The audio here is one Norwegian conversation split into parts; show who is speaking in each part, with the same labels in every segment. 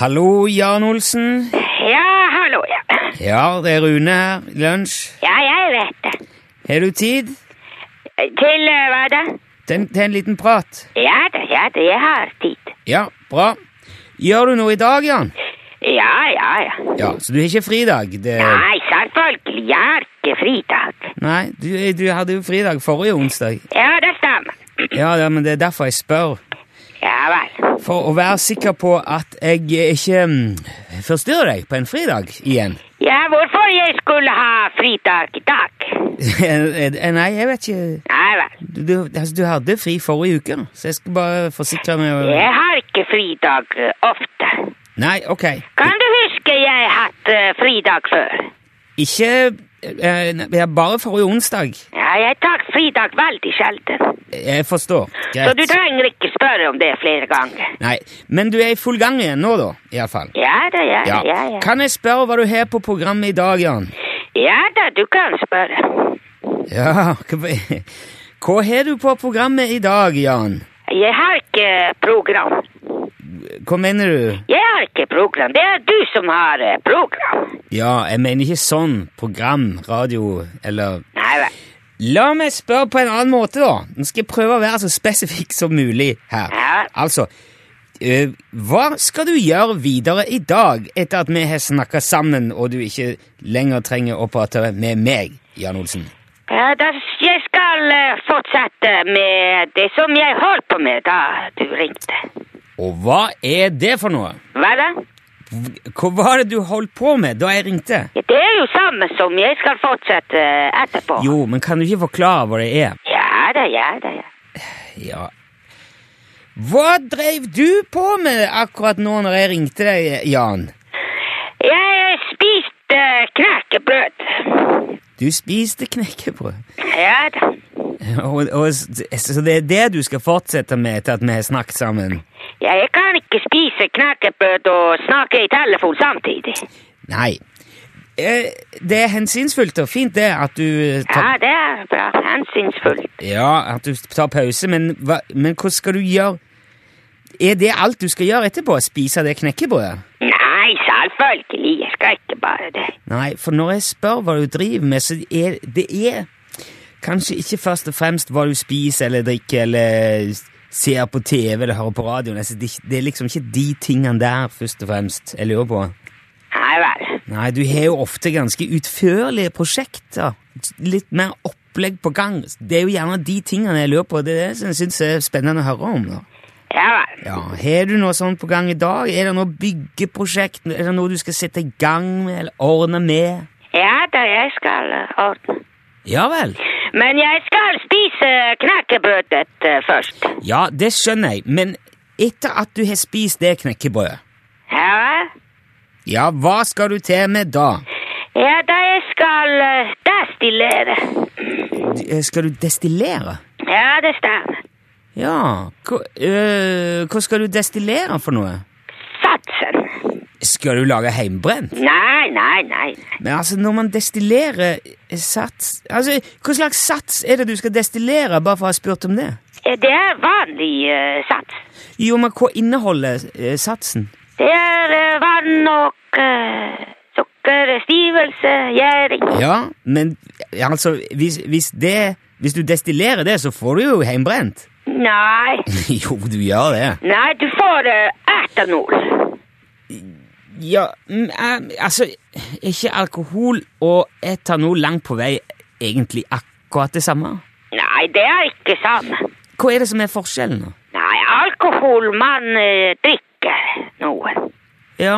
Speaker 1: Hallo, Jan Olsen.
Speaker 2: Ja, hallo, ja.
Speaker 1: Ja, det er Rune her. Lunsj.
Speaker 2: Ja, jeg vet det.
Speaker 1: Har du tid?
Speaker 2: Til eh, hva da?
Speaker 1: Til, til en liten prat?
Speaker 2: Ja da, ja da, jeg har tid.
Speaker 1: Ja, bra. Gjør du noe i dag, Jan?
Speaker 2: Ja, ja, ja.
Speaker 1: Ja, Så du har ikke fridag? Det...
Speaker 2: Nei, selvfølgelig, jeg har ikke fridag.
Speaker 1: Nei, du, du hadde jo fridag forrige onsdag.
Speaker 2: Ja, det stemmer.
Speaker 1: Ja, ja, men det er derfor jeg spør.
Speaker 2: Ja vel.
Speaker 1: For å være sikker på at jeg ikke mm, forstyrrer deg på en fridag igjen.
Speaker 2: Ja, hvorfor jeg skulle ha fridag i dag?
Speaker 1: Nei, jeg vet ikke
Speaker 2: Nei vel,
Speaker 1: du, du- altså, du hadde fri forrige uke, så jeg skal bare forsikre meg. om-
Speaker 2: jeg har ikke fridag eh, ofte.
Speaker 1: Nei, ok.
Speaker 2: Kan du huske jeg hatt eh, fridag før?
Speaker 1: Ikke eh, ne- ja, Bare forrige onsdag.
Speaker 2: Ja, jeg tar fridag veldig sjelden.
Speaker 1: Jeg forstår.
Speaker 2: Så du
Speaker 1: Greit.
Speaker 2: trenger ikke spørre om det flere ganger.
Speaker 1: Nei, Men du er i full gang igjen nå, da? Iallfall.
Speaker 2: Ja da, ja, ja, ja. ja.
Speaker 1: Kan jeg spørre hva du har på programmet i dag, Jan?
Speaker 2: Ja da, du kan spørre.
Speaker 1: Ja, hva hva har du på programmet i dag, Jan?
Speaker 2: Jeg har ikke program.
Speaker 1: Hva mener du?
Speaker 2: Jeg har ikke program. Det er du som har eh, program.
Speaker 1: Ja, jeg mener ikke sånn program, radio eller
Speaker 2: Nei vel.
Speaker 1: La meg spørre på en annen måte, da. Nå skal jeg prøve å være så spesifikk som mulig her.
Speaker 2: Ja.
Speaker 1: Altså, eh, hva skal du gjøre videre i dag etter at vi har snakka sammen, og du ikke lenger trenger å prate med meg, Jan Olsen?
Speaker 2: Ja, da, jeg skal eh, fortsette med det som jeg holdt på med da du ringte.
Speaker 1: Og hva er det for noe?
Speaker 2: Hva da?
Speaker 1: Hva var det du holdt på med da jeg ringte?
Speaker 2: Ja, Det er jo samme som jeg skal fortsette eh, etterpå.
Speaker 1: Jo, men kan du ikke forklare hva det er?
Speaker 2: Ja da, ja da, ja.
Speaker 1: Ja. Hva dreiv du på med akkurat nå når jeg ringte deg, Jan?
Speaker 2: Jeg spiste eh, knekkebrød.
Speaker 1: Du spiste knekkebrød.
Speaker 2: Ja da.
Speaker 1: Og, og, så det er det du skal fortsette med etter at vi har snakket sammen?
Speaker 2: Ja, jeg kan ikke spise knekkebrød og snakke i telefon samtidig.
Speaker 1: Nei. Eh, Det er hensynsfullt og fint det at du
Speaker 2: Ja,
Speaker 1: tar,
Speaker 2: det er bra. Hensynsfullt.
Speaker 1: ja, at du tar pause, men, hva, men hva skal du gjøre? Er det alt du skal gjøre etterpå? Spise det knekkebrødet?
Speaker 2: Nei, selvfølgelig. Jeg skal ikke bare det.
Speaker 1: Nei, for når jeg spør hva du driver med, så er det er kanskje ikke først og fremst hva du spiser eller drikker eller ser på TV eller hører på radioen. Altså, det, er ikke- det er liksom ikke de tingene der først og fremst jeg lurer på.
Speaker 2: Nei vel.
Speaker 1: Nei, du har jo ofte ganske utførlige prosjekter. Litt mer opplegg på gang. Det er jo gjerne de tingene jeg lurer på. Det er det som jeg syns er spennende å høre om. da.
Speaker 2: Ja vel.
Speaker 1: Ja, Har du noe sånt på gang i dag? Er det noe byggeprosjekt? Er det noe du skal sette i gang med eller ordne med?
Speaker 2: Ja da, jeg skal eh, ordne.
Speaker 1: Ja vel.
Speaker 2: Men jeg skal spise knekkebrødet eh, først.
Speaker 1: Ja, det skjønner jeg, men etter at du har spist det knekkebrødet,
Speaker 2: Ja vel?
Speaker 1: ja, hva skal du til med da?
Speaker 2: Ja da, jeg skal eh, destillere.
Speaker 1: D- eh, Skal du destillere?
Speaker 2: Ja, det stemmer.
Speaker 1: Ja, hva, øh, hva skal du destillere for noe?
Speaker 2: Satsen.
Speaker 1: Skal du lage heimbrent?
Speaker 2: Nei, nei, nei. nei.
Speaker 1: Men altså, når man destillerer eh, sats Altså, Hva slags sats er det du skal destillere, bare for å ha spurt om det?
Speaker 2: Eh, Det er vanlig eh, sats.
Speaker 1: Jo, men hva inneholder eh, satsen?
Speaker 2: Det er eh, vann og eh, sukker, stivelse, gjæring.
Speaker 1: Ja, men altså, hvis, hvis det Hvis du destillerer det, så får du jo heimbrent.
Speaker 2: Nei.
Speaker 1: jo, du gjør det.
Speaker 2: Nei, du får eh, etanol.
Speaker 1: Ja, mm, eh, altså Er ikke alkohol og etanol langt på vei egentlig akkurat det samme?
Speaker 2: Nei, det er ikke samme.
Speaker 1: Hva er det som er forskjellen? da?
Speaker 2: Nei, alkohol man eh, drikker noe.
Speaker 1: Ja,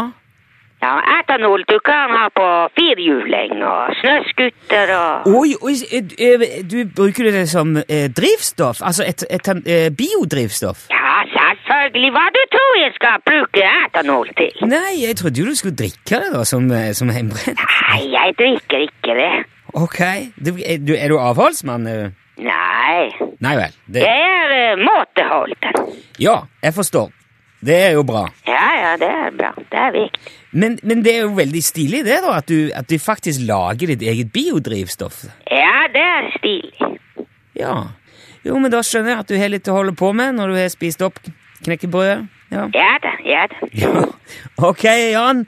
Speaker 2: Ja, etanol du kan ha på firhjuling og snøskutter og
Speaker 1: Oi, oi, eh, eh, du bruker det som eh, drivstoff? Altså et, et, eh, biodrivstoff?
Speaker 2: Ja, selvfølgelig. Hva du tror jeg skal bruke etanol til?
Speaker 1: Nei, jeg trodde jo du skulle drikke det da, som, eh, som hjemmebrent.
Speaker 2: Nei, jeg drikker ikke det.
Speaker 1: Ok, du, er, du, er du avholdsmann? eh?
Speaker 2: Nei.
Speaker 1: Nei vel. Det,
Speaker 2: Jeg er eh, måteholden.
Speaker 1: ja, jeg forstår. Det er jo bra.
Speaker 2: Ja, ja, det er bra. Det er viktig.
Speaker 1: Men, men det er jo veldig stilig det da, at du, at du faktisk lager ditt eget biodrivstoff.
Speaker 2: Ja, det er stilig.
Speaker 1: Ja. Jo, men da skjønner jeg at du har litt å holde på med når du har spist opp knekkebrødet. Ja.
Speaker 2: Ja da, ja da.
Speaker 1: Ja. Ok, Jan.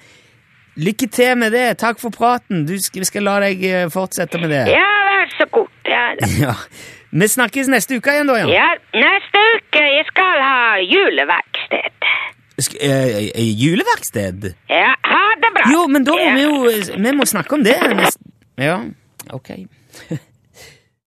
Speaker 1: Lykke til med det. Takk for praten. Du skal, vi skal la deg eh, fortsette med det.
Speaker 2: Ja, vær så god. Ja, da.
Speaker 1: Ja. Vi snakkes neste uke igjen, da, Jan.
Speaker 2: ja, neste uke jeg skal ha juleverksted.
Speaker 1: Sk eh, eh, juleverksted?
Speaker 2: Ja, ha det bra.
Speaker 1: Jo, men da må
Speaker 2: Ja.
Speaker 1: vi jo Vi må snakke om det. nest- Ja, ok.